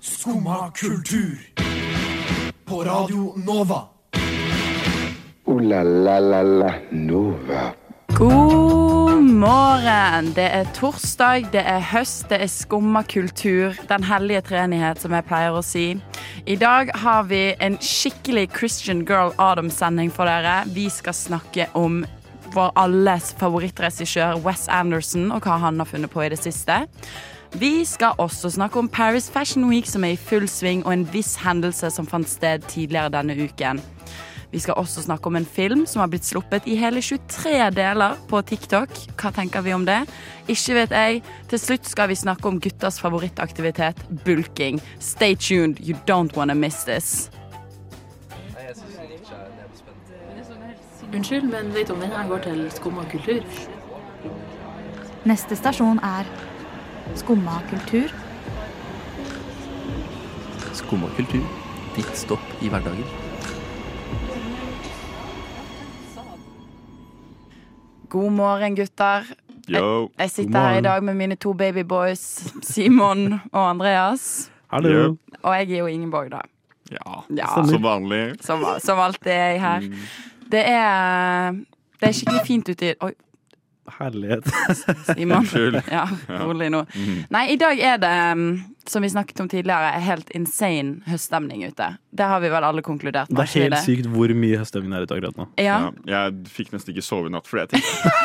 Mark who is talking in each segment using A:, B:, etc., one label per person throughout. A: Skumma kultur. På Radio Nova.
B: Ooh la la la la Nova.
C: God morgen! Det er torsdag, det er høst, det er skumma kultur. Den hellige treenighet, som jeg pleier å si. I dag har vi en skikkelig Christian Girl Adam-sending for dere. Vi skal snakke om vår alles favorittregissør Wes Anderson og hva han har funnet på i det siste. Vi skal også snakke om Paris Fashion Week, som er i full sving, og en viss hendelse som fant sted tidligere denne uken. Vi skal også snakke om en film som har blitt sluppet i hele 23 deler på TikTok. Hva tenker vi om det? Ikke vet jeg. Til slutt skal vi snakke om guttas favorittaktivitet, bulking. Stay tuned, you don't wanna miss this.
D: Unnskyld, men vet om denne går til skum og kultur?
E: Neste stasjon er Skumma kultur.
F: Skum og kultur. Ditt stopp i hverdagen.
C: God morgen, gutter.
G: Yo.
C: Jeg sitter her i dag med mine to babyboys, Simon og Andreas.
H: Hallo.
G: Ja.
C: Og jeg er jo Ingeborg, da.
G: Ja,
C: Ja.
G: som vanlig.
C: Som, som alltid er jeg her.
H: Mm.
C: Det er, det er skikkelig fint ute i Oi,
H: Herlighet.
C: Simon.
G: Unnskyld.
C: Ja, rolig nå.
H: Mm.
C: Nei, i dag er det, mm, som vi snakket om tidligere, helt insane høststemning ute. Det har vi vel alle konkludert med.
H: Det er
C: ikke
H: helt sykt hvor mye høststemning det er ute akkurat nå.
C: Ja.
G: Ja, jeg fikk nesten ikke sove i natt fordi jeg tenkte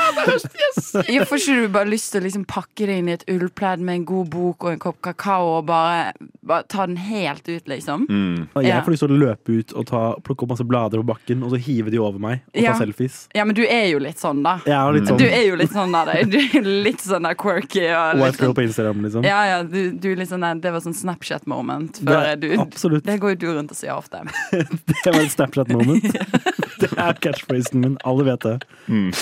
C: Ja, får ikke du bare lyst til å liksom pakke det inn i et ullpledd med en god bok og en kopp kakao og bare, bare ta den helt ut, liksom?
H: Og
C: Ja.
H: Jeg får lyst til å løpe ut og ta, plukke opp masse blader på bakken og så hive de over meg og
C: Ja.
H: ta selfies.
C: Ja, men du er jo litt sånn, da.
H: Jeg er litt sånn
C: Du er jo litt sånn der, du er jo litt sånn der quirky og litt
H: white girl
C: sånn
H: på Instagram, liksom.
C: ja, ja, du, du er litt sånn der, Det var sånn Snapchat-moment.
H: Det
C: før
H: er
C: du-
H: absolutt.
C: Det går jo du rundt og sier ofte.
H: Det var et Snapchat moment. Det er catchphrasen min. Alle vet det.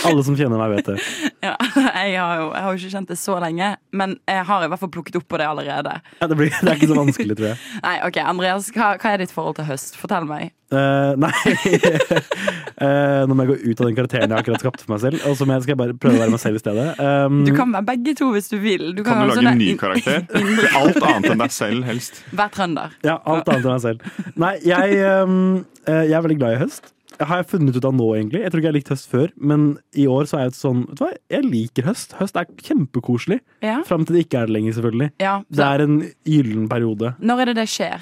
H: Alle som kjenner meg, vet det.
C: Ja, jeg har jo jeg har jo ikke kjent det så lenge, men jeg har i hvert fall plukket opp på det allerede.
H: Ja, det, blir, det er ikke så vanskelig, tror jeg.
C: Nei, ok, Andreas, hva, hva er ditt forhold til høst? Fortell meg.
H: Eh, nei Eh, Nå må jeg gå ut av den karakteren jeg akkurat skapte for meg selv. Og så må jeg- skal jeg bare prøve å være meg selv i stedet. Um,
C: Du kan være begge to hvis du vil. Du kan,
G: kan du
C: være
G: lage
C: sånn
G: en ny
C: der-
G: karakter? Alt annet enn deg selv, helst.
C: Vær trønder.
H: Ja, alt annet enn meg selv. Nei, jeg, ehm, eh, jeg er veldig glad i høst. Har jeg funnet ut av nå, egentlig. Jeg tror ikke jeg har likt høst før, men i år så er jeg sånn Vet du hva, jeg liker høst. Høst er kjempekoselig.
C: Ja.
H: Fram til det ikke er det lenger, selvfølgelig.
C: ja
H: Det
C: så,
H: er en gyllen periode
C: når er det det skjer?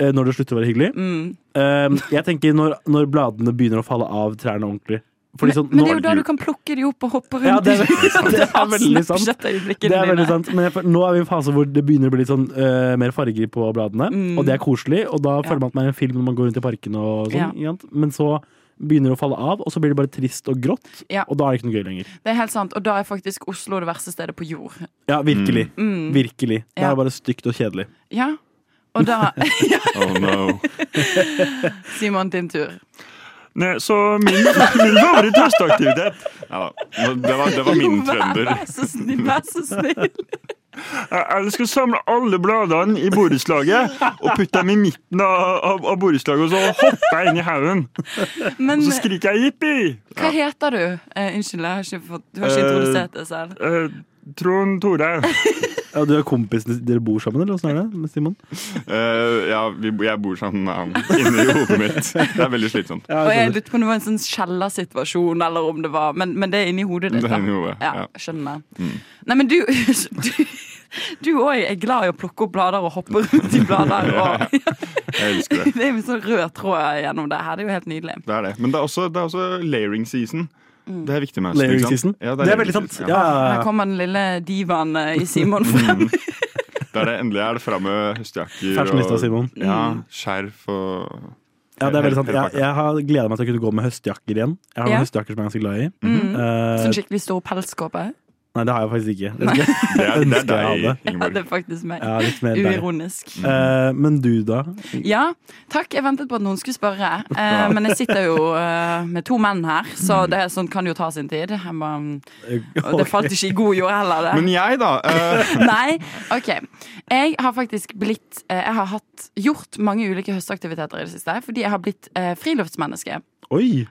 H: eh, når det slutter å være hyggelig.
C: Mm.
H: Ehm, jeg tenker når, når bladene begynner å falle av trærne ordentlig. Fordi sånn,
C: Men det
H: nå-
C: er jo da du kan plukke de opp og hoppe rundt.
H: Ja, det er,
C: i-
H: det er veldig sant.
C: Snapchat-øyeblikkene
H: Det er veldig
C: dine.
H: sant, men jeg, føl- nå er vi i en fase hvor det begynner å bli litt sånn, øh, mer farger på bladene,
C: Mm.
H: og det er koselig, og da føler man at man er i en film når man går rundt i parken og
C: Ja.
H: sånn, ikke sant? men så begynner det å falle av, og så blir det bare trist og grått,
C: Ja.
H: og da er det ikke noe gøy lenger.
C: Det er helt sant, og da er faktisk Oslo det verste stedet på jord.
H: Ja, virkelig. Virkelig. Det
C: Mm. Ja.
H: er bare stygt og kjedelig.
C: Ja, og da
G: Oh no.
C: Simon, din tur.
G: Nei, så min, min favoritthøstaktivitet ja, da. det, var, det var min trønder.
C: Vær så snill, vær så snill.
G: Jeg elsker å samle alle bladene i borettslaget og putte dem i midten av, av, av borettslaget, og så hopper jeg inn i haugen.
C: Men
G: Og så skriker jeg jippi!
C: hva heter du? Eh, unnskyld, jeg har ikke fått, du har ikke
G: Eh,
C: introdusert deg selv.
G: Eh, Trond Tore.
H: Ja, du er kompisen, dere bor sammen, eller hvordan er det med Simon?
G: Eh, ja, vi, jeg bor sammen med han inni hodet mitt. Det er veldig slitsomt.
H: Ja,
C: Og jeg
H: jeg skjønner.
C: lurte på om det var en sånn skjellersituasjon, eller om det var Men, men det er inni hodet ditt.
G: Det er
C: da.
G: inni hodet,
C: ja,
G: ja. Mm.
C: skjønner. Nei, men du Du, du òg er glad i å plukke opp blader og hoppe rundt i blader. Og,
G: Jeg elsker det.
C: det er en sånn rød tråd gjennom det her. Det er jo helt nydelig.
G: Det er det. Men det er også, det er også layering season. Det er viktig med høsten.
H: Layering
G: ikke sant?
H: season.
G: Ja,
H: det, er
G: layering
H: veldig sant.
G: season,
H: Ja.
G: ja. Mm.
C: Her kommer den lille divaen eh, i Simon frem.
G: Det er det endelig er det framme høstjakker
H: Fashionista, Simon.
G: Ja, skjerf og
H: Ja, det er veldig sant.
G: Hele pakka.
H: Jeg, jeg har gledet meg til å kunne gå med høstjakker igjen. Jeg har noen
C: Ja.
H: høstjakker som jeg er ganske glad i. Eh,
C: Sånn skikkelig stor pelskåpe.
H: nei, det har jeg faktisk ikke. Det skal,
G: Det er, det er
H: Ønsker jeg
G: deg,
H: hadde.
C: Ja,
G: Ingeborg.
C: det er faktisk meg.
H: ja, litt mer der.
C: Uironisk.
H: Eh, men du, da?
C: Ja, takk. Jeg ventet på at noen skulle spørre. Eh, men jeg sitter jo eh, med to menn her, så det er sånn kan jo ta sin tid. Jeg må, og det falt ikke i god jord heller, det.
G: Men jeg, da. eh,
C: Nei, ok Jeg har faktisk blitt eh, Jeg har hatt, gjort mange ulike høstaktiviteter i det siste Fordi jeg har blitt eh, friluftsmenneske
H: Oi!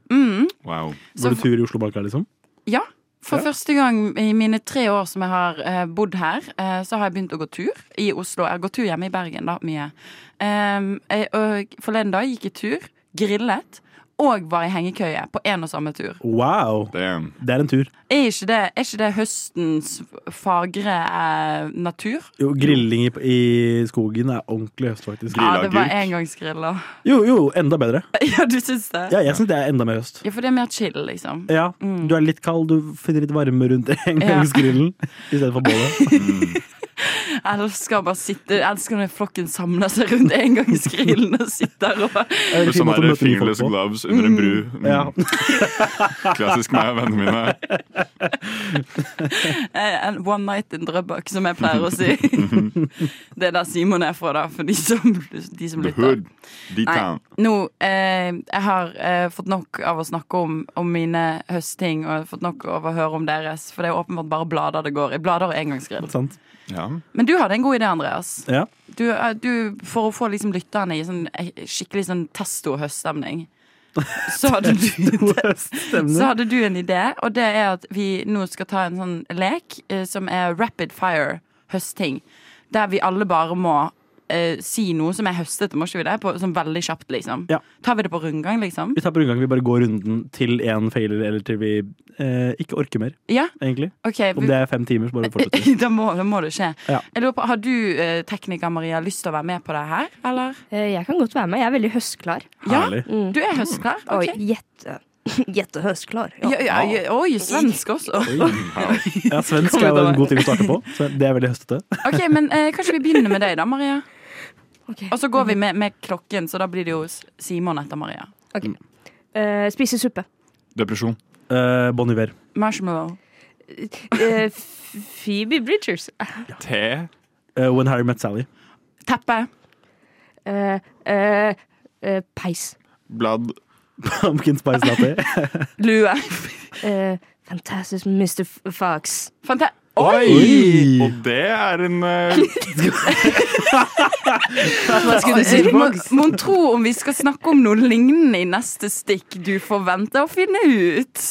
G: wow.
C: Så
H: Går du tur i Oslomarka, liksom?
C: ja, For første gang i mine tre år som jeg har eh, bodd her, eh, så har jeg begynt å gå tur i Oslo. Jeg går tur hjemme i Bergen, da, mye. Ehm, jeg, og forleden dag gikk jeg tur, grillet, og var i hengekøye på én og samme tur.
H: Wow!
G: Damn.
H: Det er en tur.
C: Er ikke det, er ikke det høstens fagre eh, natur?
H: Jo, grilling i, i skogen er ordentlig høst, faktisk.
C: Ja, det var
G: Grillagurk.
C: engangsgrilla.
H: Jo, jo, enda bedre.
C: Ja, du syns det?
H: Ja, jeg syns det er enda mer høst.
C: Ja, for det er mer chill, liksom.
H: Ja, Du er litt kald, du finner litt varme rundt engangsgrillen i stedet for bålet.
C: Jeg elsker å bare sitte Jeg elsker når flokken samler seg rundt engangsgrillen og sitter og
H: Det er en fin
G: Som
H: måte å
G: er
H: møte nye folk
G: fingerless
H: på.
G: gloves under en bru. Mm.
H: Ja.
G: Klassisk meg og vennene mine.
C: Eh, En one night in Drøbak, som jeg pleier å si. det er der Simon er fra, da, for de som, de som
G: The
C: lytter.
G: hood. D-town.
C: Nå, eh, jeg har eh, fått nok av å snakke om, om mine høstting, og jeg har fått nok av å høre om deres, for det er åpenbart bare blader det går i. Blader og engangsgrill.
H: Sant.
G: Ja.
C: Men du hadde en god idé, Andreas.
H: Ja.
C: Du, eh, du, for å få liksom lytterne i sånn, eh, skikkelig sånn testo-høststemning, så hadde du så
H: Stemmer.
C: hadde du en idé, og det er at vi nå skal ta en sånn lek eh, som er rapid fire høsting. Der vi alle bare må eh, si noe som er høstete, må ikke vi det? På, sånn veldig kjapt, liksom.
H: Ja.
C: Tar vi det på rundgang, liksom?
H: Vi tar på rundgang. Vi bare går runden til én failer, eller til vi eh, ikke orker mer,
C: Ja,
H: egentlig.
C: OK.
H: Om
C: Vi,
H: det er fem timer, så bare fortsetter vi.
C: da, må, da må det skje.
H: Ja.
C: Jeg lurer på, har du, eh, tekniker Maria, lyst til å være med på det her, eller?
I: Eh, Jeg kan godt være med. Jeg er veldig høstklar.
H: Herlig.
I: Mm.
C: Du er høstklar?
I: Oi,
C: ok.
I: jette, jette høstklar. Ja.
C: Ja, ja, ja, oi, svensk også.
H: Ja, Svensk er jo en god ting å starte på. Så det er veldig høstete.
C: OK, men eh, kanskje vi begynner med deg, da, Maria?
I: Ok.
C: Og så går vi med, med klokken, så da blir det jo S- Simon etter Maria.
I: Eh, spise suppe.
G: Depresjon.
H: Eh, bon Iver.
C: Marshmallow.
I: Eh, F- Phoebe Bridgers.
G: Te.
H: Eh, When Harry Met Sally.
C: Teppe.
I: Eh, eh, eh, peis.
G: Blad.
H: Pumpkin spice latte.
C: Lue.
I: Eh, fantastisk Mr. F- Fox.
C: Fanta...
G: Og det er en eh,
C: Du må, må tro om vi skal snakke om noe lignende i neste stikk. Du får vente og finne ut.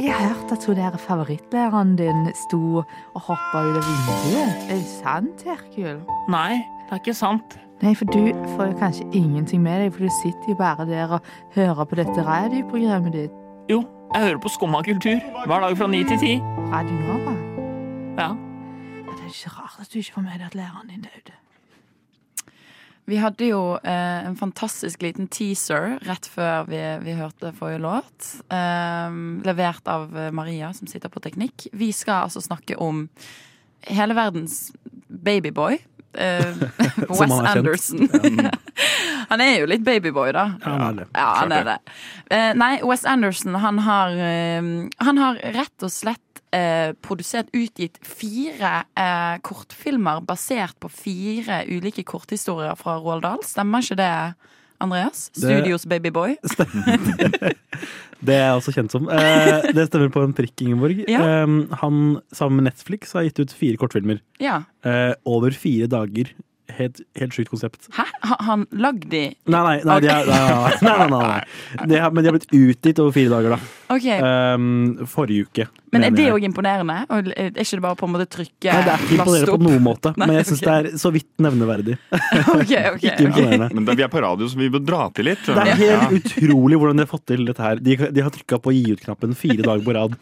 E: Jeg har hørt at hun der favorittlæreren din sto og hoppa ut av vinduet. Er det sant, Herkul?
J: Nei, det er ikke sant.
E: Nei, for du får jo kanskje ingenting med deg, for du sitter jo bare der og hører på dette radioprogrammet ditt.
J: Jo, jeg hører på Skumma kultur hver dag fra ni til ti.
E: Radio Nova.
J: Ja.
E: Ja, Det er ikke rart at du ikke får med deg at læreren din døde.
C: Vi hadde jo eh, en fantastisk liten teaser rett før vi, vi hørte forrige låt. Eh, levert av eh, Maria, som sitter på teknikk. Vi skal altså snakke om hele verdens babyboy. Eh,
H: Som
C: Wes
H: han er kjent.
C: Anderson. han er jo litt babyboy, da.
H: Ja, han er det.
C: Ja, han
G: Klart
C: er det. Eh, nei, Wes Anderson, han har, eh, han har rett og slett eh, produsert, utgitt fire eh, kortfilmer basert på fire ulike korthistorier fra Roald Dahl. Stemmer ikke det, Andreas? Studios Babyboy.
H: Det er jeg også kjent som. Eh, det stemmer på en prikk, Ingeborg.
C: Ja.
H: Eh, han sammen med Netflix har gitt ut fire kortfilmer.
C: Ja.
H: Eh, over fire dager. Helt, helt sjukt konsept.
C: Hæ? Har han lagd de?
H: Nei, nei, nei, de er, nei, nei, nei, nei, nei. Det har, Men de har blitt utgitt over fire dager, da.
C: Ok,
H: Eh, forrige uke.
C: Men er
H: mener
C: det
H: jeg.
C: òg imponerende? Og Er ikke det bare på en måte trykke
H: Nei, det er ikke
C: plast
H: imponerende på
C: opp?
H: noen måte,
C: Nei,
H: men jeg syns
C: ok.
H: det er så vidt nevneverdig.
C: Ok, ok,
H: Ikke
C: ok.
H: imponerende.
G: Men det, vi er på radio, så vi bør dra til litt.
H: Det er helt utrolig hvordan de har fått til dette her. De, de har trykka på gi ut-knappen fire dager på rad.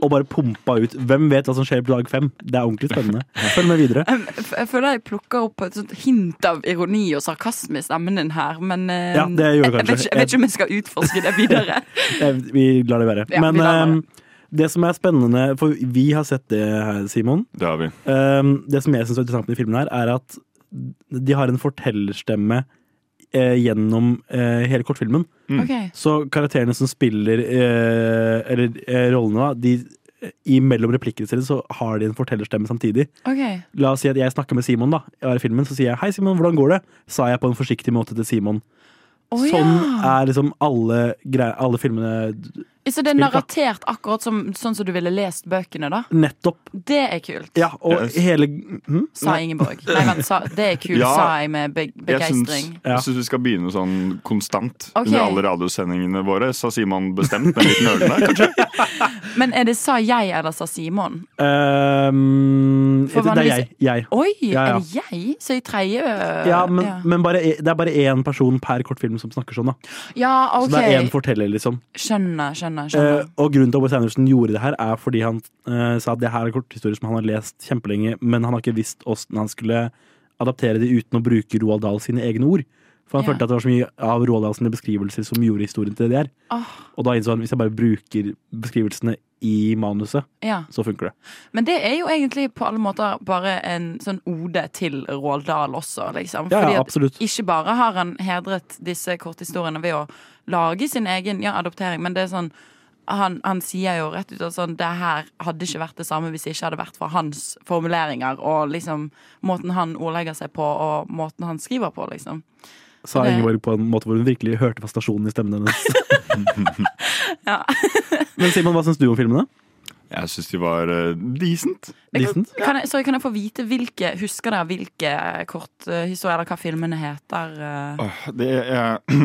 H: Og bare pumpa ut. Hvem vet hva som skjer på dag fem? Det er ordentlig spennende. Følg med videre.
C: Um, f- Jeg føler jeg plukker opp et sånt hint av ironi og sarkasme i stemmen din her, men eh,
H: Ja, det gjør du
C: jeg, vet
H: kanskje.
C: ikke, jeg vet ikke om jeg skal utforske det videre.
H: Eh, Vi lar det være.
C: Ja, vi
H: Men
C: lar det være.
H: eh, det som er spennende, for vi har sett det her, Simon.
G: Det har vi.
H: Eh, Det som jeg syns er interessant med filmen her, er at de har en fortellerstemme eh, gjennom eh, hele kortfilmen.
C: Ok,
H: Så karakterene som spiller eh, eller eh, rollene, da, de eh, i mellom replikkene sine så har de en fortellerstemme samtidig.
C: ok.
H: La oss si at jeg snakker med Simon, da. Jeg er i filmen, Så sier jeg 'Hei, Simon, hvordan går det?' sa jeg på en forsiktig måte til Simon.
C: Å,
H: sånn
C: ja.
H: er liksom alle, grei- alle filmene
C: Så det er
H: spilt, da.
C: narratert akkurat som, sånn som du ville lest bøkene, da?
H: Nettopp.
C: Det er kult,
H: Ja, og
G: Yes.
H: hele hm?
C: sa Ingeborg. Nei, vent, sa, det er kult,
G: Ja.
C: sa jeg med be
G: Jeg syns,
C: begeistring.
H: Ja.
G: jeg syns vi skal begynne sånn konstant
C: Ok.
G: under alle radiosendingene våre. Så sier man bestemt med en liten øl der, kanskje?
C: Men er det sa jeg, eller sa Simon?
H: Ehm,
C: For
H: det er jeg.
C: vanligvis-
H: jeg.
C: Oi,
H: Ja, ja.
C: er det jeg? Så i tredje øh,
H: Ja, men,
C: ja.
H: men bare, e, det er bare én person per kortfilm som snakker sånn. da
C: Ja,
H: Så det er én
C: OK.
H: forteller, liksom.
C: Skjønner, skjønner.
H: Eh,
C: skjønner.
H: og grunnen til at Wes Anderson gjorde det her, er fordi han eh, sa at det her er korthistorier som han har lest kjempelenge, men han har ikke visst åssen han skulle adaptere de uten å bruke Roald Dahl sine egne ord. For han
C: Ja.
H: følte at det var så mye av Roald Dahl sine beskrivelser som gjorde historien til det det er.
C: Åh,
H: Og da innså han hvis jeg bare bruker beskrivelsene i manuset,
C: ja.
H: så funker det.
C: Men det er jo egentlig på alle måter bare en sånn ode til Roald Dahl også, liksom.
H: Ja,
C: Fordi
H: ja
C: at
H: absolutt.
C: ikke bare har han hedret disse korthistoriene ved å lage sin egen ja, adoptering, men det er sånn han, han sier jo rett ut at sånn, det her hadde ikke vært det samme hvis det ikke hadde vært for hans formuleringer og liksom måten han ordlegger seg på og måten han skriver på, liksom.
H: Sa
C: det-
H: Ingeborg på en måte hvor hun virkelig hørte fascinasjonen i stemmen hennes.
C: Ja.
H: men Simon, hva syns du om filmene?
G: Jeg syns de var eh, decent.
H: Decent?
C: Kan jeg, sorry, kan jeg få vite hvilke Husker dere hvilke korthistorier eller hva filmene heter? eh?
G: Åh, Det er,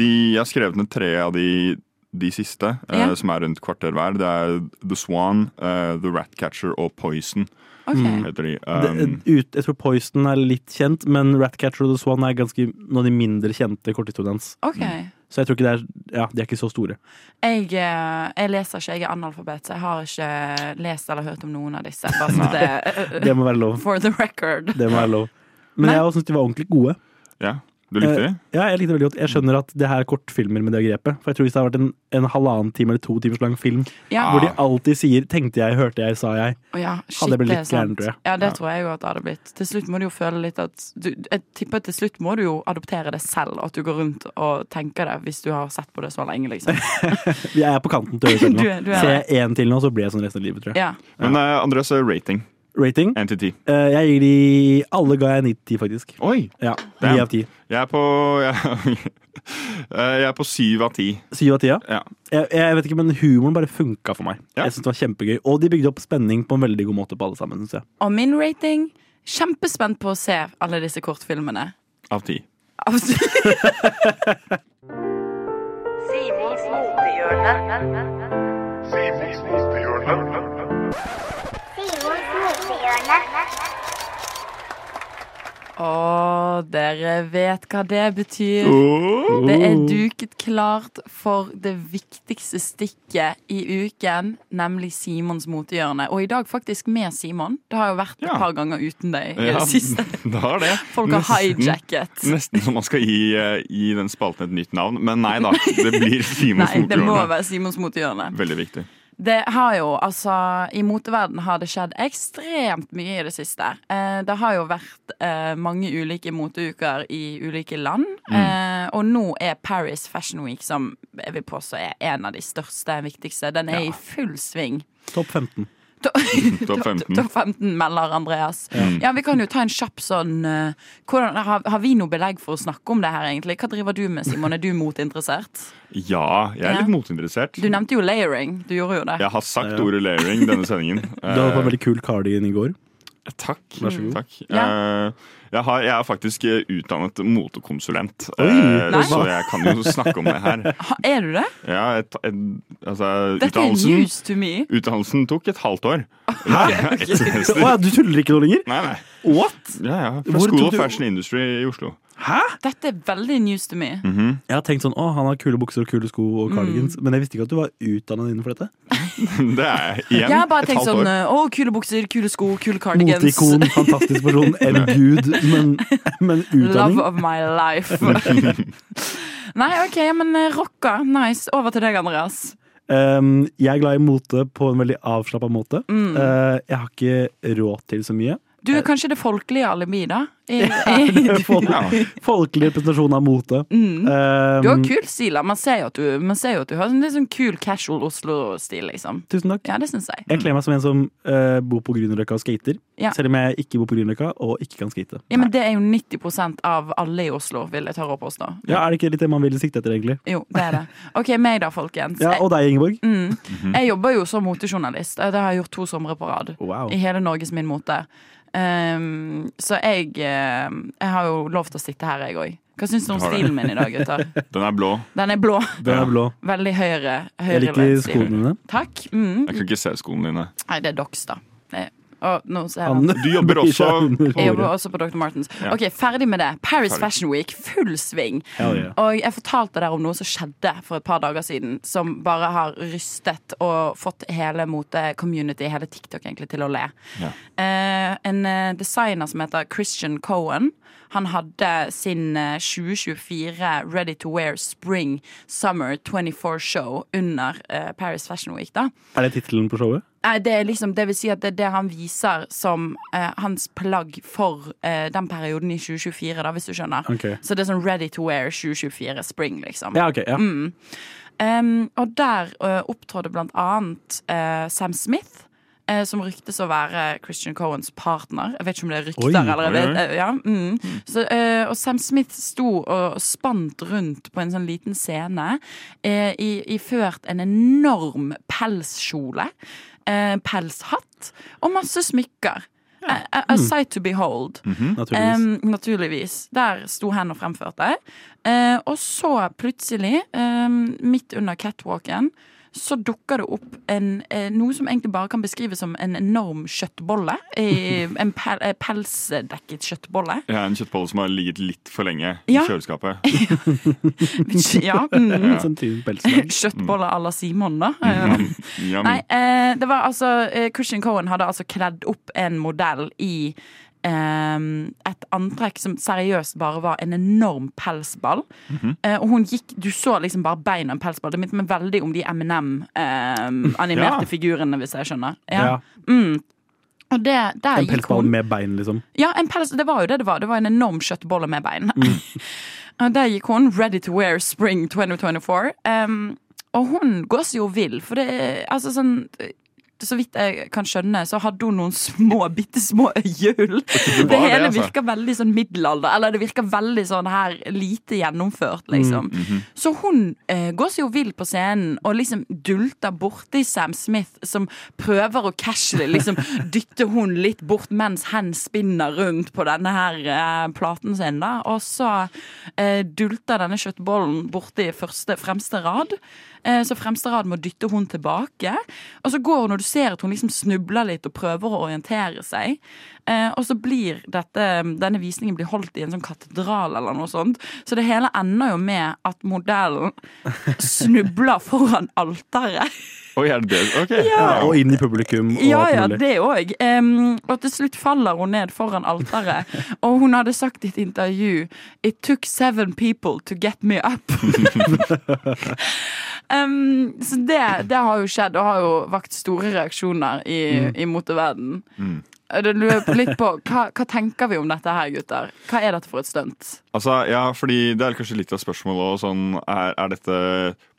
G: de, jeg har skrevet ned tre av de, de siste, eh,
C: Ja.
G: som er rundt kvarter hver. Det er The Swan, eh, The Ratcatcher og Poison.
C: Ok.
G: heter de.
H: Det,
G: Um,
H: ut, jeg tror Poison er litt kjent, men Ratcatcher og The Swan er ganske noen av de mindre kjente korthistoriene hans.
C: ok.
H: Så jeg tror ikke det er Ja, de er ikke så store.
C: Jeg, eh, jeg leser ikke, jeg er analfabet, så jeg har ikke lest eller hørt om noen av disse. Bare så det,
H: Det må være lov.
C: for the record.
H: Det må være lov. Men
C: Nei.
H: jeg syns de var ordentlig gode. Eh,
G: ja, du likte de?
H: Ja, jeg likte det veldig godt. Jeg skjønner at det her er kortfilmer med det grepet. For jeg tror hvis det hadde vært en, en halvannen time eller to timers lang film
C: Ja,
H: hvor de
G: Ah.
H: alltid sier 'tenkte jeg, hørte jeg, sa jeg',
C: og ja shit,
H: hadde jeg blitt
C: det er
H: litt gæren,
C: sant.
H: tror jeg.
C: Ja, det tror jeg jo at det hadde blitt. Til slutt må du jo føle litt at du, Jeg tipper at til slutt må du jo adoptere det selv, at du går rundt og tenker det hvis du har sett på det så lenge, liksom.
H: Jeg er på kanten til å gjøre selv nå.
C: Du er- du er
H: Ser jeg én til nå, så blir jeg sånn resten av livet, tror jeg.
C: Ja.
G: Men eh, Andreas, rating.
H: Rating?
G: Én til ti.
H: Eh, Jeg gir de Alle ga jeg 9-10, faktisk.
G: Oi!
H: Ja,
G: Damn.
H: 9 av 10.
G: Jeg er på Jeg, eh, jeg er på syv av ti.
H: 7 av 10, ja.
G: Ja.
H: Jeg, jeg vet ikke, men humoren bare funka for meg.
G: Ja.
H: Jeg synes det var kjempegøy Og de bygde opp spenning på en veldig god måte på alle sammen. Synes jeg.
C: Og min rating Kjempespent på å se alle disse kortfilmene.
G: Av ti.
C: Absolutt. Og dere vet hva det betyr. Det
G: Oh.
C: er duket klart for det viktigste stikket i uken, nemlig Simons motehjørne. Og i dag faktisk med Simon. Det har jo vært et
G: Ja.
C: par ganger uten deg i
G: Ja,
C: det siste.
G: Da er det.
C: Folk har
G: Nesten-
C: hijacket.
G: Nesten som man skal gi, eh, gi den spalten et nytt navn. Men nei da, det blir Simons
C: Nei, det må
G: Motorhjørne.
C: være Simons motehjørne.
G: Veldig viktig.
C: Det har jo, altså I moteverden har det skjedd ekstremt mye i det siste. Eh, det har jo vært eh, mange ulike moteuker i ulike land. Eh, og nå er Paris Fashion Week, som jeg vil påstå er en av de største, viktigste, den er i full sving.
H: Topp 15.
C: To-
G: Topp 15.
C: Topp 15 melder Andreas. Ja, Vi kan jo ta en kjapp sånn eh, hvordan, har, har vi noe belegg for å snakke om det her, egentlig? Hva driver du med, Simon? Er du motinteressert?
G: Ja, jeg er
C: Ja.
G: litt motinteressert.
C: Du nevnte jo layering. Du gjorde jo det.
G: Jeg har sagt
H: Ja.
G: ordet layering denne sendingen.
H: Du hadde på en
G: Eh,
H: veldig kul cardigan i går.
G: Takk.
H: Vær så god.
G: Takk. Eh, jeg, har, jeg er faktisk eh, utdannet motekonsulent,
H: Oi,
G: eh,
C: Nei.
G: så jeg kan jo snakke om det her.
C: Ha, er du det?
G: Ja, et, et, altså,
C: Dette er
G: utdannelsen,
C: news to me.
G: utdannelsen tok et halvt år. Hæ? Et
H: Å
G: semester.
H: ja, du tuller ikke nå lenger?
G: Nei, nei.
H: What?
G: Ja, ja. Fra
H: Hvor
G: School
H: tok
G: of
H: du-
G: Fashion Industry i Oslo.
C: Dette er veldig news to me.
H: Jeg har tenkt sånn, å han har kule bukser og kule sko og cardigans, men jeg visste ikke at du var utdannet innenfor dette.
G: Det er igjen
C: Jeg har bare
G: et
C: tenkt
G: halvt
C: sånn
G: år.
C: Å, kule bukser, kule sko, kule cardigans.
H: Moteikon, fantastisk person, en gud, men, men utdanning
C: Love of my life. eh, Nei, OK, men eh, rocka. Nice. Over til deg, Andreas.
H: Ehm, Jeg er glad i mote på en veldig
C: Mm.
H: avslappa måte. Eh, Jeg har ikke råd til så mye.
C: Du er kanskje det folkelige alibi, da? I,
H: Fol- Folkelig representasjon av mote.
C: Mm.
H: Um,
C: Du har kul stil. da. Man ser jo at du, man ser jo at du har en litt sånn kul casual Oslo-stil, liksom.
H: Tusen takk.
C: Ja, det syns jeg.
H: Jeg kler meg som en som eh, bor på Grünerløkka og skater.
C: Ja.
H: Selv om jeg ikke bor på Grünerløkka og ikke kan skate.
C: Ja, men det er jo 90 av alle i Oslo, vil jeg tørre å påstå.
H: Ja, Er det ikke litt det man vil sikte etter, egentlig?
C: Jo, det er det. OK, meg da, folkens.
H: Ja, Og deg, Ingeborg.
C: Mm. Jeg jobber jo som motejournalist. Det har jeg gjort to somre på rad.
H: Wow.
C: I hele Norges Min Mote. Um, så jeg, eh, jeg har jo lov til å sitte her, jeg òg. Hva syns du om
G: Har det.
C: stilen min i dag, gutter?
G: Den er blå.
C: Den er blå.
H: Den er blå.
C: Veldig høyre.
H: Jeg liker skoene
C: høyrelent stil.
H: dine.
C: Takk. Mm.
G: Jeg kan ikke se skoene dine.
C: Nei, det er Dox, da. Det- Å, nå ser jeg
H: Han-
G: Du jobber
H: blir ikke
G: også
H: under
C: Jeg jobber
H: håret.
C: også på Dr. Martens.
G: Ja.
C: Ok, Ferdig med det. Paris
G: Ferdig.
C: Fashion Week, full sving.
H: Ja, ja.
C: Og jeg fortalte dere om noe som skjedde for et par dager siden, som bare har rystet og fått hele mote-community, hele TikTok egentlig, til å le.
G: Ja.
C: Eh, en eh, designer som heter Christian Cohen, han hadde sin eh, 2024 Ready to Wear Spring Summer 24-show under eh, Paris Fashion Week, da.
H: Er det tittelen på showet?
C: Nei, det, er liksom, det vil si at det er det han viser som eh, hans plagg for eh, den perioden i 2024, da, hvis du skjønner.
H: Ok.
C: Så det er sånn ready to wear 2024 spring, liksom.
H: Ja, ok. Ja.
C: Em, og der eh, opptrådte blant annet eh, Sam Smith. eh, Som ryktes å være Christian Cohens partner. Jeg vet ikke om det er rykter.
H: Oi.
C: eller det,
G: Oi, oi.
C: eh, ja, mm. Så, eh, og Sam Smith sto og spant rundt på en sånn liten scene eh, i- iført en enorm pelskjole, eh, pelshatt og masse smykker. A, a,
H: Mm.
C: a sight to behold.
H: Naturligvis.
C: Em, naturligvis. Der sto han og fremførte. Eh, og så plutselig, em, midt under catwalken, så dukker det opp en, eh, noe som egentlig bare kan beskrives som en enorm kjøttbolle. Eh, en pel, eh, pelsdekket kjøttbolle.
G: Jeg er en kjøttbolle som har ligget litt for lenge
C: Ja.
G: i kjøleskapet.
C: Ja, mm.
H: Sånn type pelslag.
C: Kjøttbolle à la Simon, da. Eh,
G: Yum.
C: Nei, eh, det var altså eh, Christian Cohen hadde altså kledd opp en modell i eh, et antrekk som seriøst bare var en enorm pelsball.
H: Mhm.
C: eh, og hun gikk Du så liksom bare beina i en pelsball. Det minnet meg veldig om de
G: Ja.
C: M&M-animerte figurene, hvis jeg skjønner. Ja.
H: Ja.
C: Og det, der
H: En
C: gikk hun
H: pelspall med bein, liksom.
C: ja, en pels, det var jo det det var. Det var en enorm kjøttbolle med bein.
H: Mhm.
C: Og Der gikk hun, ready to wear spring 2024. Um, og hun går seg jo vill, for det er altså sånn så vidt jeg kan skjønne, så hadde hun noen små, bitte små øyehull.
G: var
C: Det hele
G: det, altså.
C: virker veldig sånn middelalder, eller det virker veldig sånn her lite gjennomført, liksom.
G: Mm, mhm.
C: Så hun eh, går seg jo vill på scenen og liksom dulter borti Sam Smith, som prøver å casually liksom dytte hun litt bort mens hen spinner rundt på denne her eh, platen sin, da. Og så eh, dulter denne kjøttbollen borti første, fremste rad. Eh, Så fremste rad må dytte hun tilbake. Og så går hun, og du ser at hun liksom snubler litt og prøver å orientere seg. Eh, Og så blir dette, denne visningen blir holdt i en sånn katedral eller noe sånt. Så det hele ender jo med at modellen snubler foran alteret.
G: Oi, er det det? Ok.
H: Ja, og inn i publikum og
C: Ja, ja,
H: alt mulig.
C: det òg. Um, og til slutt faller hun ned foran alteret. Og hun hadde sagt i et intervju It took seven people to get me up. um, så det, det har jo skjedd, og har jo vakt store reaksjoner i,
H: Mm.
C: i moteverden. Det lurer jeg litt på, hva, hva tenker vi om dette her, gutter? Hva er dette for et stunt?
G: Altså, ja, fordi det er kanskje litt av spørsmålet også, sånn, er, er dette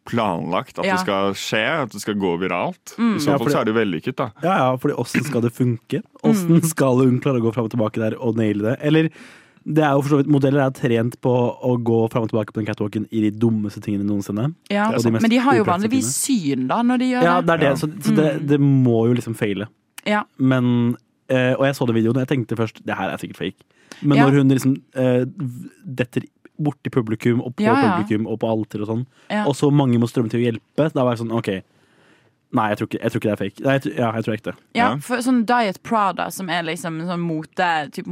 G: planlagt at
C: Ja. Mm.
G: det skal skje, at det skal gå viralt? I så
H: Ja,
G: fall
H: fordi-
G: så er det jo vellykket, da.
H: Ja, ja, fordi åssen skal det funke?
C: Mm.
H: Åssen skal hun klare å gå fram og tilbake der og naile det? Eller det er jo for så vidt, Modeller er trent på å gå fram og tilbake på den catwalken i de dummeste tingene noensinne.
C: Ja,
H: Det er sant.
C: men de har jo
H: Opraktiske
C: vanligvis syn da når de gjør
H: altså, Ja,
C: det. Mm.
H: det er det,
G: Ja.
H: så, så det, det må jo liksom feile.
C: Ja.
H: Men, eh, og jeg så den videoen, og jeg tenkte først det her er sikkert fake. Men
C: Ja.
H: når hun liksom eh, v- detter borti publikum og på
C: Ja, ja.
H: publikum og på alter og sånn,
C: Ja.
H: og så mange må strømme til å hjelpe, da var jeg sånn OK. Nei, jeg tror ikke, jeg tror ikke det er fake. Nei, jeg, tr- ja, jeg tror det er ekte.
C: Ja,
G: Ja.
C: for sånn Diet Prada, som er liksom en sånn mote, typ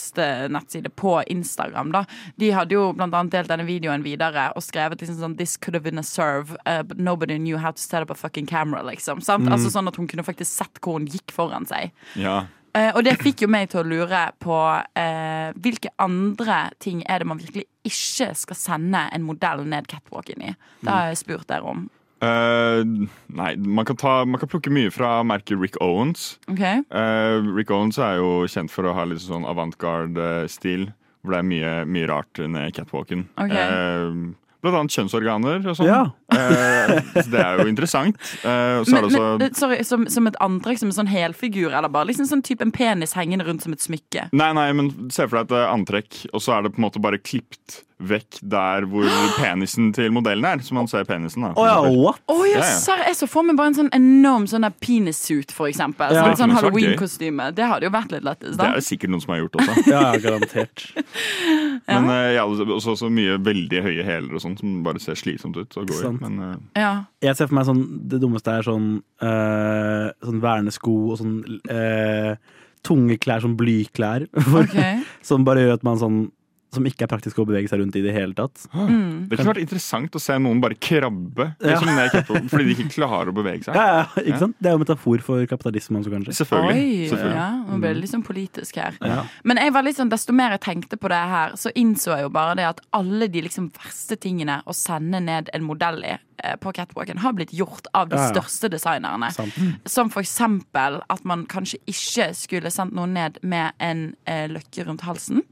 C: motejournalist-nettside på Instagram, da. De hadde jo blant annet delt denne videoen videre og skrevet liksom sånn This could have been a serve, uh, but nobody knew how to set up a fucking camera, liksom. Sant? Altså sånn at hun kunne faktisk sett hvor hun gikk foran seg.
G: Ja.
C: Eh, og det fikk jo meg til å lure på eh, hvilke andre ting er det man virkelig ikke skal sende en modell ned catwalken i. Det har jeg spurt dere om.
G: Eh, nei, man kan, ta, man kan plukke mye fra merket Rick Owens.
C: Ok.
G: Eh, Rick Owens er jo kjent for å ha litt sånn avantgarde-stil, hvor det er mye, mye rart under catwalken.
C: Ok.
G: Eh, blant annet kjønnsorganer og sånn.
H: Ja.
G: Eh, så det er jo interessant. Eh, og så er
C: Men,
G: det også
C: men, sorry, som, som et antrekk, som en sånn helfigur, eller bare liksom sånn type en penis hengende rundt som et smykke?
G: Nei, nei, men se for deg et eh, antrekk, og så er det på en måte bare klippt vekk der hvor penisen til modellen er. Så man ser penisen, da.
H: Å ja, oh. what?
C: Å
G: Ja,
C: ja,
G: ja.
C: serr! Jeg så for meg bare en sånn enorm sånn der penissuit, for eksempel.
H: Ja.
C: Sånn, sånn
G: Men så var det gøy.
C: Halloween-kostyme. Det hadde jo vært litt lettest,
G: Det
C: da.
G: er det sikkert noen som har gjort også.
H: Ja, ja, garantert.
G: Men eh, ja, også, også mye veldig høye hæler og sånn som bare ser slitsomt ut å gå i.
H: Sant.
G: Men eh,
C: Ja.
H: Jeg ser for meg sånn Det dummeste er sånn eh, Sånn vernesko og sånn eh, tunge klær, sånn blyklær. For,
C: Ok.
H: Som bare gjør at man sånn Som ikke er praktisk å bevege seg rundt i det hele tatt.
C: Mm.
G: det kunne vært interessant å se noen bare krabbe
H: Ja.
G: liksom, ned i catwalken, fordi de ikke klarer å bevege seg.
H: Ja, ja, ikke sant? Det er jo metafor for kapitalisme også, kanskje.
G: Selvfølgelig.
C: Oi,
G: Selvfølgelig.
C: ja, nå ble det litt sånn politisk her.
H: Ja.
C: Men jeg var litt sånn, desto mer jeg tenkte på det her, så innså jeg jo bare det at alle de liksom verste tingene å sende ned en modell i eh, på catwalken har blitt gjort av de
H: Ja, ja.
C: største designerne.
H: Sant.
C: Som for eksempel at man kanskje ikke skulle sendt noen ned med en eh, løkke rundt halsen.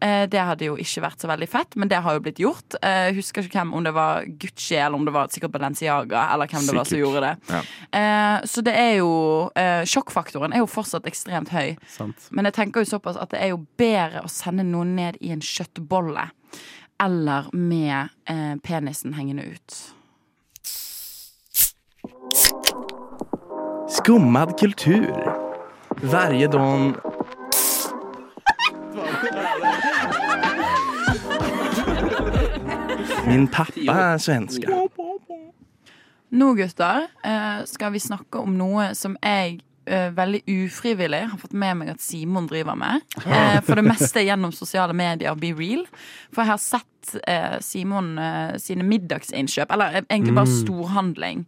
C: Eh, det hadde jo ikke vært så veldig fett, men det har jo blitt gjort. Eh, jeg husker ikke hvem, om det var Gucci eller om det var sikkert Balenciaga. Eller hvem det var som
G: Sikkert.
C: gjorde det.
G: Ja.
C: Eh, så det er jo eh, Sjokkfaktoren er jo fortsatt ekstremt høy.
H: Sant.
C: Men jeg tenker jo såpass at det er jo bedre å sende noen ned i en kjøttbolle. Eller med eh, penisen hengende ut.
F: Skummad kultur. Varje dag Min pappa er svenska.
C: Nå, gutter, eh, skal vi snakke om noe som jeg eh, veldig ufrivillig har fått med meg at Simon driver med. Eh, for det meste gjennom sosiale medier og Be Real. For jeg har sett eh, Simon eh, sine middagsinnkjøp. Eller eh, egentlig bare
H: Mm.
C: storhandling.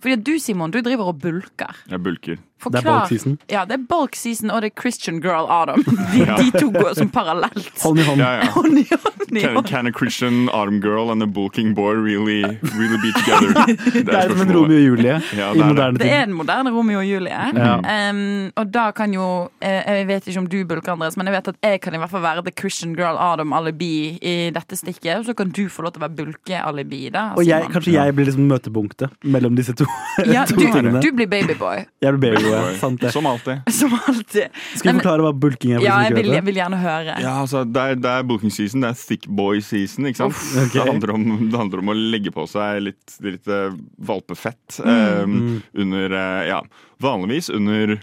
C: Fordi at du, Simon, du driver og bulker.
G: Jeg bulker.
H: Det er bulk season.
C: Ja, det er bulk season, og det er Christian girl Adam. De, de to går som parallelt.
H: Hånd i hånd.
G: Ja, ja.
C: Hånd i hånd i
G: Can,
C: hånd.
G: can a Christian arm girl and a bulking boy really, really be together? Det
H: Det er som en Romeo og Julie
G: Ja, det
H: i
G: er
H: moderne
C: Det er
H: tid.
C: en moderne Romeo og Julie. Um, og da kan jo eh, Jeg vet ikke om du bulker, Andreas, men jeg vet at jeg kan i hvert fall være the Christian girl Adam-alibi i dette stikket. Og så kan du få lov til å være bulke-alibi. da
H: Og jeg,
C: Simon.
H: kanskje jeg blir liksom møtepunktet mellom disse to,
C: ja,
H: to tingene.
C: du, du blir babyboy,
H: Jeg blir baby,
G: Boy.
H: sant det.
G: Som alltid.
C: som alltid.
H: Skal vi
C: Nei, men-
H: forklare hva bulking er? for de
C: Ja,
H: som
C: jeg
H: ikke
C: vil,
H: vet
C: jeg vil gjerne høre.
G: Ja, altså, det er, det er booking season, det er thick boy season. ikke sant?
H: Ok.
G: Det, handler om, det handler om å legge på seg litt, litt eh, valpefett
H: Mm,
G: eh, under eh, Ja, vanligvis under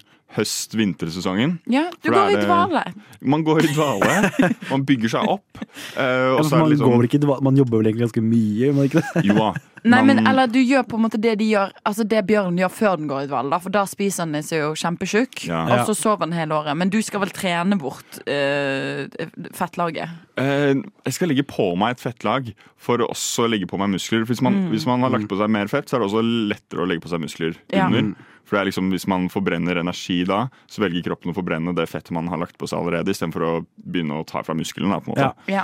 G: høst-vintersesongen.
C: Ja, du
G: For
C: går
G: da
C: i
G: er det-
C: dvale.
G: Man går i dvale, man bygger seg opp. eh, og
H: det.
G: så er
H: man,
G: det litt
H: går vel
G: sånn
H: ikke, man jobber vel egentlig ganske mye? Man ikke det?
G: Jo da.
C: Nei, men
G: man-
C: Eller du gjør på en måte det de gjør Altså det bjørnen gjør før den går i dvale, da, for da spiser den seg jo kjempetjukk.
G: Ja.
C: Og så sover den hele året. Men du skal vel trene bort eh, fettlaget?
G: Eh, jeg skal legge på meg et fettlag for å også legge på meg muskler. For hvis man,
C: Mm.
G: hvis man har
H: Mm.
G: lagt på seg mer fett, så er det også lettere å legge på seg muskler
C: Ja.
G: under. For det er liksom, Hvis man forbrenner energi da, så velger kroppen å forbrenne det fettet man har lagt på seg allerede, istedenfor å begynne å ta fra muskelen. Da, på en måte.
C: Ja.
H: Ja.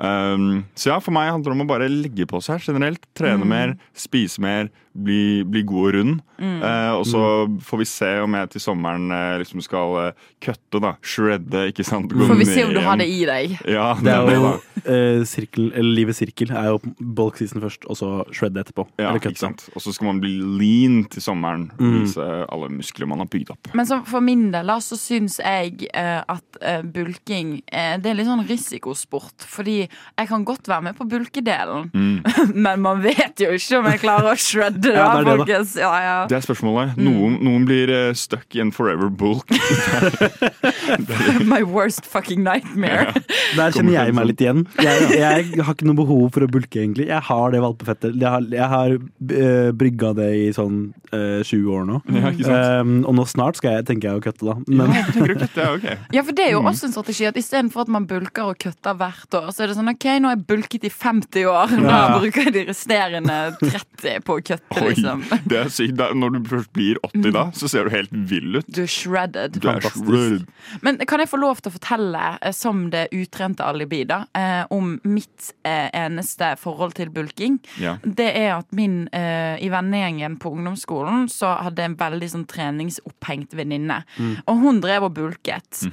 G: Um, så ja, for meg handler det om å bare legge på seg generelt.
C: Mm.
G: Trene mer, spise mer, bli, bli god og rund.
C: Mm.
G: Eh, og så
H: Mm.
G: får vi se om jeg til sommeren eh, liksom skal eh, kutte, da. Shredde, ikke sant. Gå
C: Får vi
G: ned
C: se om du
G: igjen.
C: har det i deg.
G: Ja,
H: Det er jo
G: da.
H: eh, sirkel, eller livets sirkel. er jo bulk season først, og så shred etterpå.
G: Ja,
H: eller
G: ikke
H: Mm. cut.
G: sant? Og så skal man bli lean til sommeren og vise alle muskler man har bygd opp.
C: Men så for min del da, så syns jeg eh, at eh, bulking eh, Det er litt sånn risikosport. Fordi jeg kan godt være med på bulkedelen, men man vet jo ikke om jeg klarer å shredde det.
H: Ja, det er det, da.
C: folkens. Ja, ja.
G: Det er
C: Mm.
G: spørsmålet. Noen, noen blir eh, stuck i en forever bulk.
C: My worst fucking nightmare.
H: Der kjenner jeg meg litt igjen. Jeg, jeg har ikke noe behov for å bulke, egentlig. Jeg har det valpefettet. Jeg har, jeg har eh, brygga det i sånn eh, 20 år nå.
G: Ja, ikke sant?
H: Eh, og nå snart skal jeg, tenker jeg å kutte, da. Men
G: Jeg tenker ikke at det er ok.
C: Ja, for det er jo også en strategi at istedenfor at man bulker og kutter hvert år, så er det sånn OK, nå har jeg bulket i 50 år, da
H: Ja.
C: bruker jeg de resterende 30 på å kutte,
G: Oi,
C: liksom. Mm.
G: det er sykt. Da- Når du først blir 80 da, så ser du helt vill ut.
C: Du er shredded.
G: Du er
H: Fantastisk.
G: shredded.
C: Men kan jeg få lov til å fortelle eh, som det utrente alibi, da? Eh, eh, om mitt eh, eneste forhold til bulking.
G: Ja.
C: Det er at min eh, I vennegjengen på ungdomsskolen så hadde jeg en veldig sånn treningsopphengt venninne.
K: Mm.
C: Og hun drev og bulket.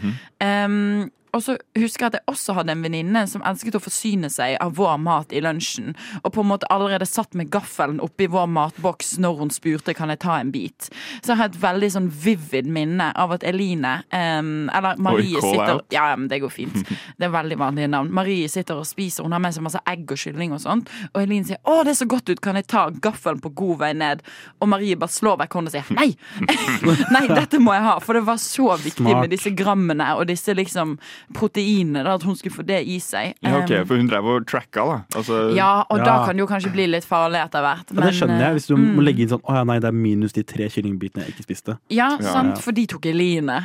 C: Ehm, og så husker jeg at jeg også hadde en venninne som elsket å forsyne seg av vår mat i lunsjen. Og på en måte allerede satt med gaffelen oppi vår matboks når hun spurte kan jeg ta en bit. Så jeg har et veldig sånn vivid minne av at Eline, ehm, eller Marie,
K: Oi, call
C: sitter
K: out.
C: Ja, ja, men det går fint. Det er veldig vanlige navn. Marie sitter og spiser, hun har med seg masse egg og kylling og sånt. Og Elin sier 'Å, det ser godt ut, kan jeg ta gaffelen på god vei ned?' Og Marie bare slår vekk hånden og sier 'Nei! Nei, dette må jeg ha', for det var så viktig
G: Smart.
C: med disse grammene og disse liksom proteinene, da, at hun skulle få det i seg.
G: Ja, ok,
C: Um,
G: For hun drev og tracka, da. Altså,
C: ja, og da kan det jo kanskje bli litt farlig etter hvert.
H: Ja, det skjønner jeg, hvis du
C: mm,
H: må legge inn sånn Å ja, nei, det er minus de tre kyllingbitene jeg ikke spiste.
C: eh, Ja, sant,
H: Ja.
C: for de tok Eline.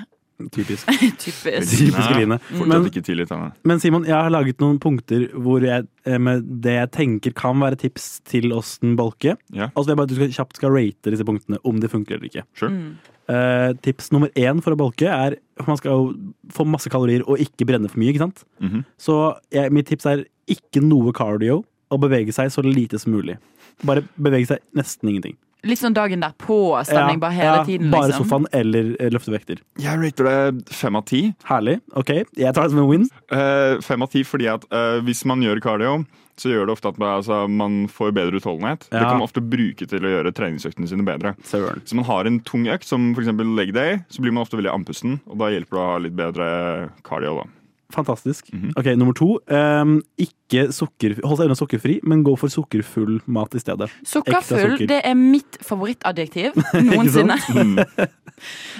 H: Typisk.
C: Typisk.
H: Typisk Eline.
G: Fortsatt
H: Men-
G: ikke tillit henne.
H: Men Simon, jeg har laget noen punkter hvor jeg, eh, med det jeg tenker kan være tips til Åsten Bolke.
G: Ja.
H: Og så vil jeg bare at du skal, kjapt skal rate disse punktene, om de funker eller ikke.
G: Sure.
K: Mm.
H: Eh, tips nummer én for å bolke er man skal jo få masse kalorier og ikke brenne for mye. ikke sant?
G: Mhm.
H: Så jeg, mitt tips er ikke noe cardio, og bevege seg så lite som mulig. Bare bevege seg nesten ingenting.
C: Litt sånn dagen derpå-stemning bare hele
H: ja,
C: tiden.
H: bare
C: liksom.
H: sofaen eller eh, løftevekter.
G: Jeg rater det fem av ti.
H: Herlig. Ok, jeg tar det som en win.
G: Fem av ti fordi at eh, hvis man gjør cardio, så gjør det ofte at man, altså, man får bedre utholdenhet. Det
H: Ja.
G: kan man ofte bruke til å gjøre treningsøktene sine bedre. Så man har en tung økt, som f.eks. leg day, så blir man ofte veldig andpusten, og da hjelper det å ha litt bedre cardio, da.
H: Fantastisk. Ok, Nummer to. ehm, ikke sukker, hold seg unna sukkerfri, men gå for sukkerfull mat i stedet.
C: Sukkerfull
H: Ekte sukker.
C: det er mitt favorittadjektiv noensinne.
H: Ikke sant?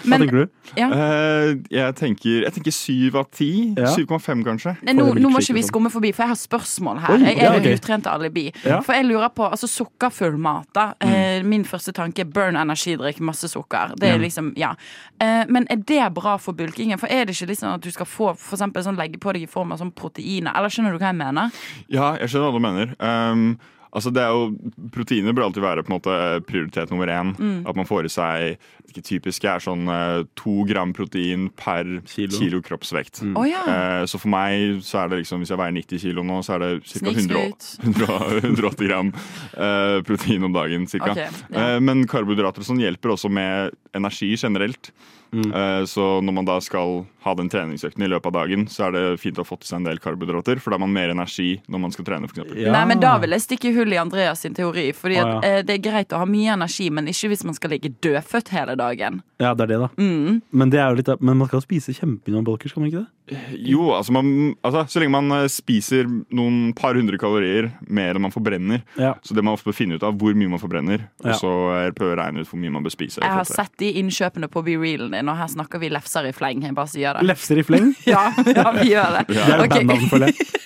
H: Hva
C: Men-
H: tenker du?
C: Ja.
G: Eh, jeg, tenker, jeg tenker syv av ti. 7,5 kanskje.
C: Nei, nå, nå må ikke vi skumme forbi, for jeg har spørsmål her.
G: Oi,
C: Jeg er
G: ja,
C: det
G: ok.
C: utrente alibi.
G: Ja.
C: For jeg lurer på, altså Sukkerfull mat, da. Eh, Min første tanke er burn energidrikk, masse sukker. Det
K: Ja.
C: er liksom, ja Eh, Men er det bra for bulkingen? For er det ikke liksom at du skal få for eksempel, sånn, legge på deg i form av sånn proteiner? Eller skjønner du hva jeg mener?
G: Ja, jeg skjønner hva du mener. Um, altså det er jo, Proteiner bør alltid være på en måte prioritet nummer én.
C: Mm.
G: At man får i seg det typiske er sånn eh, to gram protein per kilo, kroppsvekt.
C: Å ja.
G: Eh, så for meg så er det liksom, hvis jeg veier 90 kilo nå, så er det ca.
C: Snikskryt.
G: 180 gram eh, protein om dagen. Cirka.
C: Ok, ja.
G: Eh, men karbohydrater og sånn hjelper også med energi generelt. Eh, Så når man da skal ha den treningsøkten i løpet av dagen, så er det fint å ha fått i seg en del karbohydrater, for da har man mer energi når man skal trene,
H: Eh,
G: f.eks.
C: Nei, men Da vil jeg stikke hull i Andreas sin teori. Fordi at,
G: Å, ja.
C: eh, Det er greit å ha mye energi, men ikke hvis man skal ligge dødfødt hele dagen.
H: Ja, det er det, da.
C: Mm.
H: Men, det er jo litt, av- men man skal jo spise kjempemye om bolker, skal man ikke det?
G: Jo, altså, man, altså så lenge man eh, spiser noen par hundre kalorier mer enn man forbrenner,
H: Ja.
G: så det man ofte bør finne ut av hvor mye man forbrenner,
H: Ja.
G: og så eh, prøve å regne ut hvor mye man bør spise. i
C: Jeg har
G: forhold til det.
C: sett de innkjøpene på Be Realen din, og her snakker vi lefser i fleng. Jeg bare sier det.
H: Lefser i fleng?
C: ja, ja, vi gjør det.
H: Det er
C: Ok.
H: okay. bandnavn, føler jeg.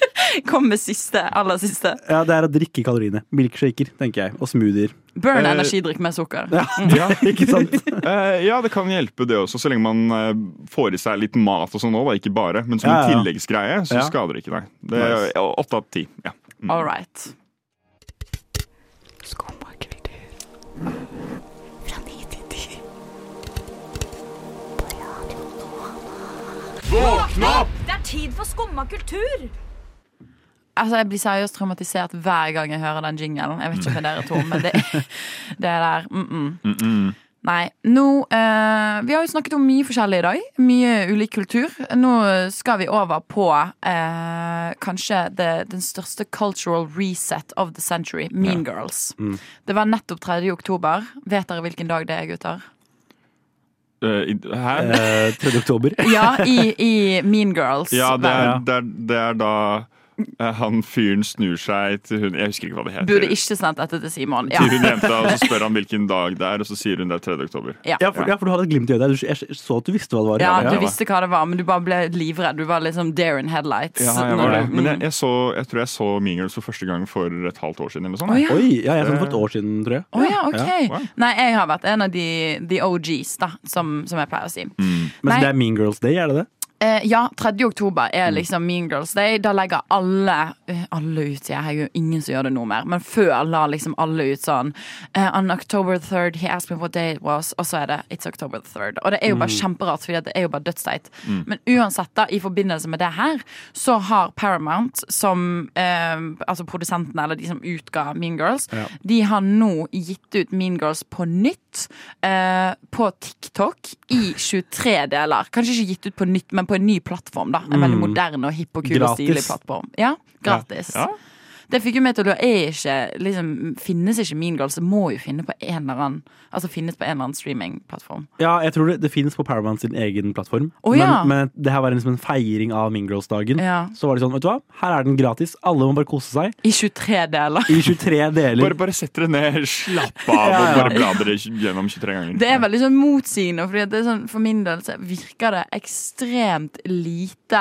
C: Kom med siste, aller siste.
H: Ja, det er å drikke kaloriene. Milkshaker, tenker jeg. Og smoothier.
C: Burn
G: Eh,
C: energidrikk med sukker.
H: Ja.
G: Ja, Eh, ja, det kan hjelpe det også, så lenge man eh, får i seg litt mat og sånn òg, da. Ikke bare, men som
H: Ja, ja.
G: en tilleggsgreie, så
H: Ja.
G: skader det ikke deg. Det er
H: Nice.
G: ja, åtte av ti. Ja. Mm.
C: All right.
L: Våkne opp! Det er tid for skumma kultur!
C: Altså, Jeg blir seriøst traumatisert hver gang jeg hører den jingelen. Jeg vet ikke om det er dere to, men det, det er der. Mm -mm. Nei. Nå, eh, vi har jo snakket om mye forskjellig i dag. Mye ulik kultur. Nå skal vi over på eh, kanskje det, den største cultural reset of the century. Mean Girls.
G: Mm.
C: Det var nettopp 3. oktober. Vet dere hvilken dag det er, gutter?
G: Eh, i- Hæ?
H: Eh, 3. oktober.
C: Ja, i, i Mean Girls.
G: Ja, det er,
C: verden.
G: det er, det er da eh, han fyren snur seg til hun Jeg husker ikke hva det heter.
C: Burde ikke sendt dette til Simon. Ja.
G: Til hun jenta, og så spør han hvilken dag det er, og så sier hun det er 3. oktober.
C: Ja.
H: Ja, for, ja, for du hadde et glimt i øyet. der. Du- Jeg så at du visste hva det var.
C: Ja, du visste hva det var, men du bare ble livredd. Du var liksom dare in headlights.
G: Ja, jeg var det.
C: Mm.
G: Men jeg, jeg, så, jeg tror jeg så Mean Girls for første gang for et halvt år siden. Eller sånn.
C: Å, ja. Oi,
H: ja, jeg så den for et
G: år
H: siden, tror jeg.
C: Å ja, ok.
G: wow.
C: Nei, jeg har vært en av de, de OGs, da, som, som jeg pleier å si.
H: Men
C: Nei.
H: så det er Mean Girls Day, er det det?
C: Eh, ja, 3. oktober er liksom Mean Girls Day. Da legger alle eh, Alle ut, sier jeg. Jeg er jo ingen som gjør det nå mer. Men før la liksom alle ut sånn eh, On October 3rd, he asked me what day it was. Og så er det It's October the 3rd. Og det er jo bare
K: Mm.
C: kjemperart, for det er jo bare dødsteit.
K: Mm.
C: Men uansett, da, i forbindelse med det her, så har Paramount, som eh, Altså produsentene, eller de som utga Mean Girls,
K: Ja.
C: de har nå gitt ut Mean Girls på nytt eh, på TikTok i 23 deler. Kanskje ikke gitt ut på nytt, men på en ny plattform. da En veldig
K: Mm.
C: moderne og hipp og kul og
K: Gratis.
C: stilig plattform. Ja, gratis.
K: Ja.
C: Det fikk jo meg til å da er ikke, liksom, Finnes ikke Mean Girls, det må jo finne på en eller annen Altså finnes på en eller annen streamingplattform.
H: Ja, jeg tror det, det finnes på Paramount sin egen plattform.
C: Å, ja.
H: men, men det her var liksom en feiring av Mean Girls-dagen.
C: Ja.
H: Så var det sånn, vet du hva, her er den gratis, alle må bare kose seg.
C: I 23 deler.
H: I 23 deler.
G: Bare, bare sett dere ned, slapp av
H: Ja, ja.
G: og bare bla dere gjennom 23 ganger.
C: Det er veldig sånn motsigende, fordi at det er sånn, for min del så virker det ekstremt lite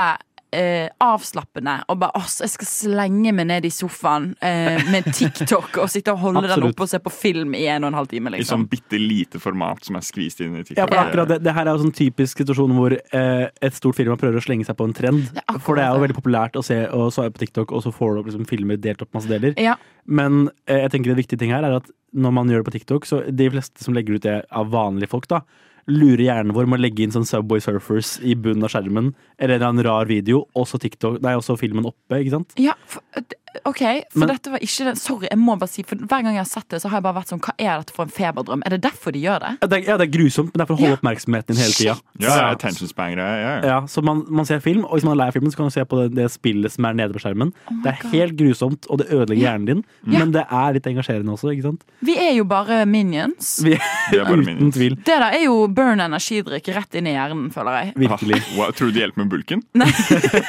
C: eh, avslappende. Og bare ass, jeg skal slenge meg ned i sofaen eh, med TikTok og sitte og holde den
G: Absolutt.
C: oppe og se på film i en og en halv time,
G: I sånn
C: liksom.
G: bitte lite format som er skvist inn i TikTok.
H: Ja, for akkurat det, det her er jo sånn typisk situasjon hvor eh, et stort firma prøver å slenge seg på en trend. for det er jo veldig populært å se og svare på TikTok, og så får du opp liksom, filmer delt opp masse deler.
C: Ja.
H: Men eh, jeg tenker en viktig ting her er at når man gjør det på TikTok, så de fleste som legger ut det av vanlige folk, da, lurer hjernen vår med å legge inn sånn Subway Surfers i bunnen av skjermen, eller en eller annen rar video, og så TikTok, nei, også filmen oppe, ikke sant?
C: Ja, for, eh, d- OK, for
H: Men-
C: dette var ikke det. Sorry, jeg må bare si, for hver gang jeg har sett det, så har jeg bare vært sånn, hva er dette for en feberdrøm? Er det derfor de gjør det?
H: Ja, det er, ja, det er grusomt, men det er for å holde
C: Ja.
H: oppmerksomheten din hele tida.
G: Shit. Ja, ja, attention span-greie. Ja, ja.
H: Ja, så man, man ser film, og hvis man er lei av filmen, så kan man se på det, det spillet som er nede på skjermen.
G: Oh
H: det er helt grusomt, og det ødelegger hjernen din,
C: Ja.
H: men det er litt engasjerende også, ikke sant?
C: Vi er jo bare minions.
H: Vi,
G: er bare
H: uten tvil.
C: Det der er jo burn energidrikk rett inn i hjernen, føler jeg.
H: Virkelig.
G: Wow, Ah, tror du det hjelper med bulken? Nei. det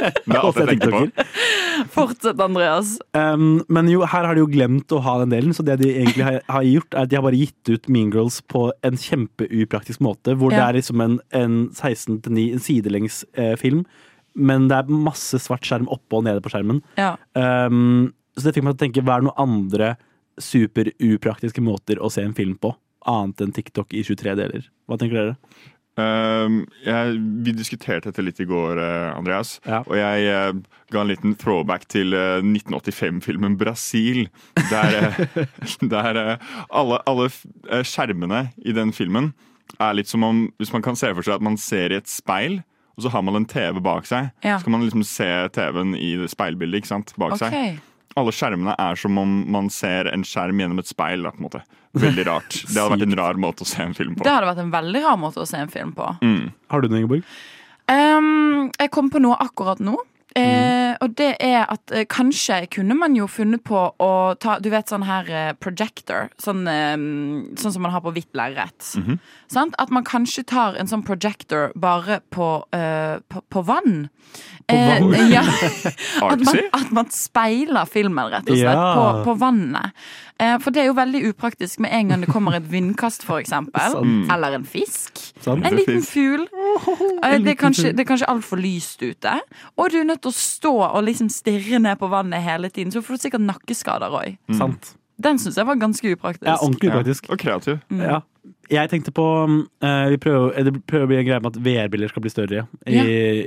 G: er alt Ah, jeg tenker på.
C: Fortsett, Andreas.
H: Um, men jo, her har de jo glemt å ha den delen, så det de egentlig har, har gjort, er at de har bare gitt ut Mean Girls på en kjempeupraktisk måte, hvor det
K: Ja.
H: er liksom en, en 16-9, en sidelengs eh, film, men det er masse svart skjerm oppe og nede på skjermen.
C: Ja.
H: Um, så det fikk meg til å tenke, hva er noen andre superupraktiske måter å se en film på, annet enn TikTok i 23 deler? Hva tenker dere?
G: Um, jeg, vi diskuterte dette litt i går, eh, Andreas. Og jeg eh, ga en liten throwback til eh, 1985-filmen 'Brasil'. Der, eh, der eh, alle, alle f- eh, skjermene i den filmen er litt som om Hvis man kan se for seg at man ser i et speil, og så har man en TV bak seg.
K: Ja.
G: Så kan man liksom se TV-en i det speilbildet ikke sant, bak
K: Ok.
G: seg. Alle skjermene er som om man ser en skjerm gjennom et speil. Da, på en måte. Veldig rart. Det hadde vært en rar måte å se en film på.
C: Det hadde vært en veldig rar måte å se en film på.
G: Mm.
H: Har du den, Ingeborg?
C: Ehm, jeg kom på noe akkurat nå.
K: Mm.
C: Eh, Og det er at eh, kanskje kunne man jo funnet på å ta Du vet sånn her eh, projector. Sånn, eh, sånn som man har på hvitt lerret.
K: Mhm.
C: Sant? At man kanskje tar en sånn projector bare på, eh, på, på vann.
K: På vann?
C: Eh, ja. at, man,
K: Artsy?
C: at man speiler filmen, rett og slett,
K: Ja.
C: på, på vannet. Eh, for det er jo veldig upraktisk med en gang det kommer et vindkast, for eksempel.
K: Sant.
C: Eller en fisk.
K: Sant.
C: En liten
K: Fisk.
C: fugl. Eh,
K: en
C: Det er
K: liten
C: kanskje,
K: fugl.
C: det er kanskje altfor lyst ute. Og du er nødt til å stå og liksom stirre ned på vannet hele tiden, så får du sikkert nakkeskader òg.
H: Sant.
C: Den syns jeg var ganske upraktisk.
H: Ja, ordentlig upraktisk.
G: Og kreativ.
C: Mm.
H: Ja. Jeg tenkte på eh, vi prøver, eh, Det prøver å bli en greie med at VR-briller skal bli større i,
C: Ja.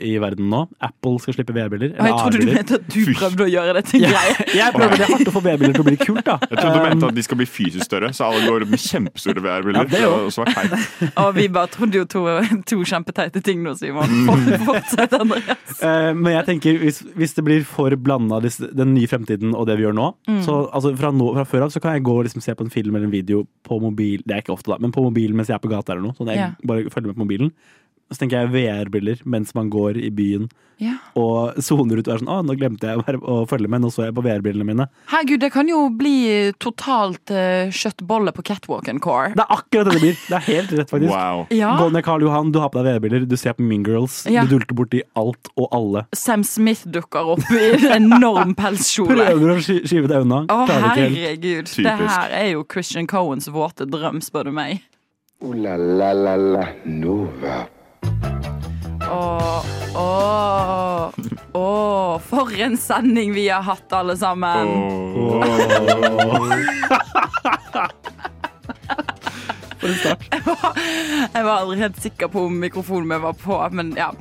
H: i verden nå. Apple skal slippe VR-briller.
C: Og jeg trodde du mente at du prøvde å gjøre det til en greie.
H: Jeg prøver det er hardt å få VR-briller til å bli kult, da.
G: Jeg trodde du
H: Um,
G: mente at de skal bli fysisk større, så alle går rundt med kjempestore
H: Ja, det
G: VR-briller.
H: jo.
G: og så var det teit.
C: Og vi bare trodde jo to, to kjempeteite ting nå, Simon. For- Fortsett, Andreas.
H: Eh, men jeg tenker hvis, hvis det blir for blanda den nye fremtiden og det vi gjør nå
C: Mm.
H: Så altså, fra, nå, fra før av så kan jeg gå og liksom, se på en film eller en video på mobil Det er ikke ofte da, men på mobilen mens jeg er på gata eller noe. Sånn at jeg
C: Ja.
H: bare følger med på mobilen Så tenker jeg VR-briller mens man går i byen
C: Ja.
H: og soner ut og er sånn Å, nå glemte jeg å, være, å følge med, nå så jeg på VR-brillene mine.
C: Herregud, det kan jo bli totalt eh, kjøttbolle på catwalken core.
H: Det er akkurat det det blir! Det er helt rett, faktisk.
G: Wow.
C: Ja.
H: Gå ned Karl Johan, du har på deg VR-briller, du ser på Mean Girls,
C: Ja.
H: du dulter borti alt og alle.
C: Sam Smith dukker opp i en enorm pelskjole.
H: Prøver å sky- skyve deg unna.
C: Å,
H: klarer ikke helt.
C: herregud. Det her er jo Christian Cohens våte drøm, spør du meg.
B: Ooh la la la la Nova.
C: Åh, åh, åh, for en sending vi har hatt, alle sammen.
G: Åh.
H: For en start.
C: Jeg var, jeg var aldri helt sikker på om mikrofonen min var på, men ja.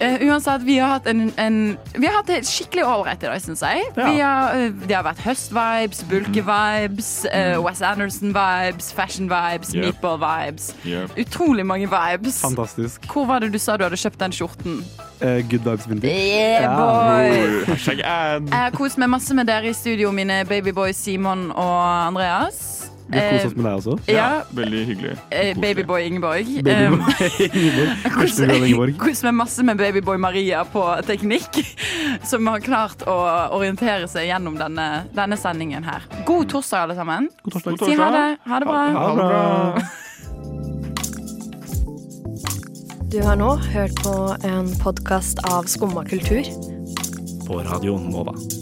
C: Eh, uansett, vi har hatt en, en Vi har hatt det skikkelig ålreit i dag, syns jeg. Vi har, eh, det har vært høstvibes, bulkevibes, eh, Wes Anderson-vibes, fashion-vibes,
H: Mhm. Yep.
C: meatball-vibes.
H: Yep.
C: Utrolig mange vibes.
H: Fantastisk.
C: Hvor var det du sa du hadde kjøpt den skjorten?
H: Eh, good vibes vinter.
C: Yeah, boy.
G: Hashtag ad.
C: Jeg har kost meg masse med dere i studio, mine babyboys Simon og Andreas.
H: Vi har kost
C: Eh,
H: oss med deg også.
C: Ja.
G: Veldig hyggelig.
C: Eh, Babyboy Ingeborg. Eh,
H: Babyboy Ingeborg. Beste girl Ingeborg.
C: Kos meg masse med Babyboy Maria på teknikk, som har klart å orientere seg gjennom denne, denne sendingen her. God torsdag, alle sammen. Si ha det. Ha det bra.
K: Ha det bra. Du har nå hørt på en podkast av Skumma kultur.
M: På Radio Nova.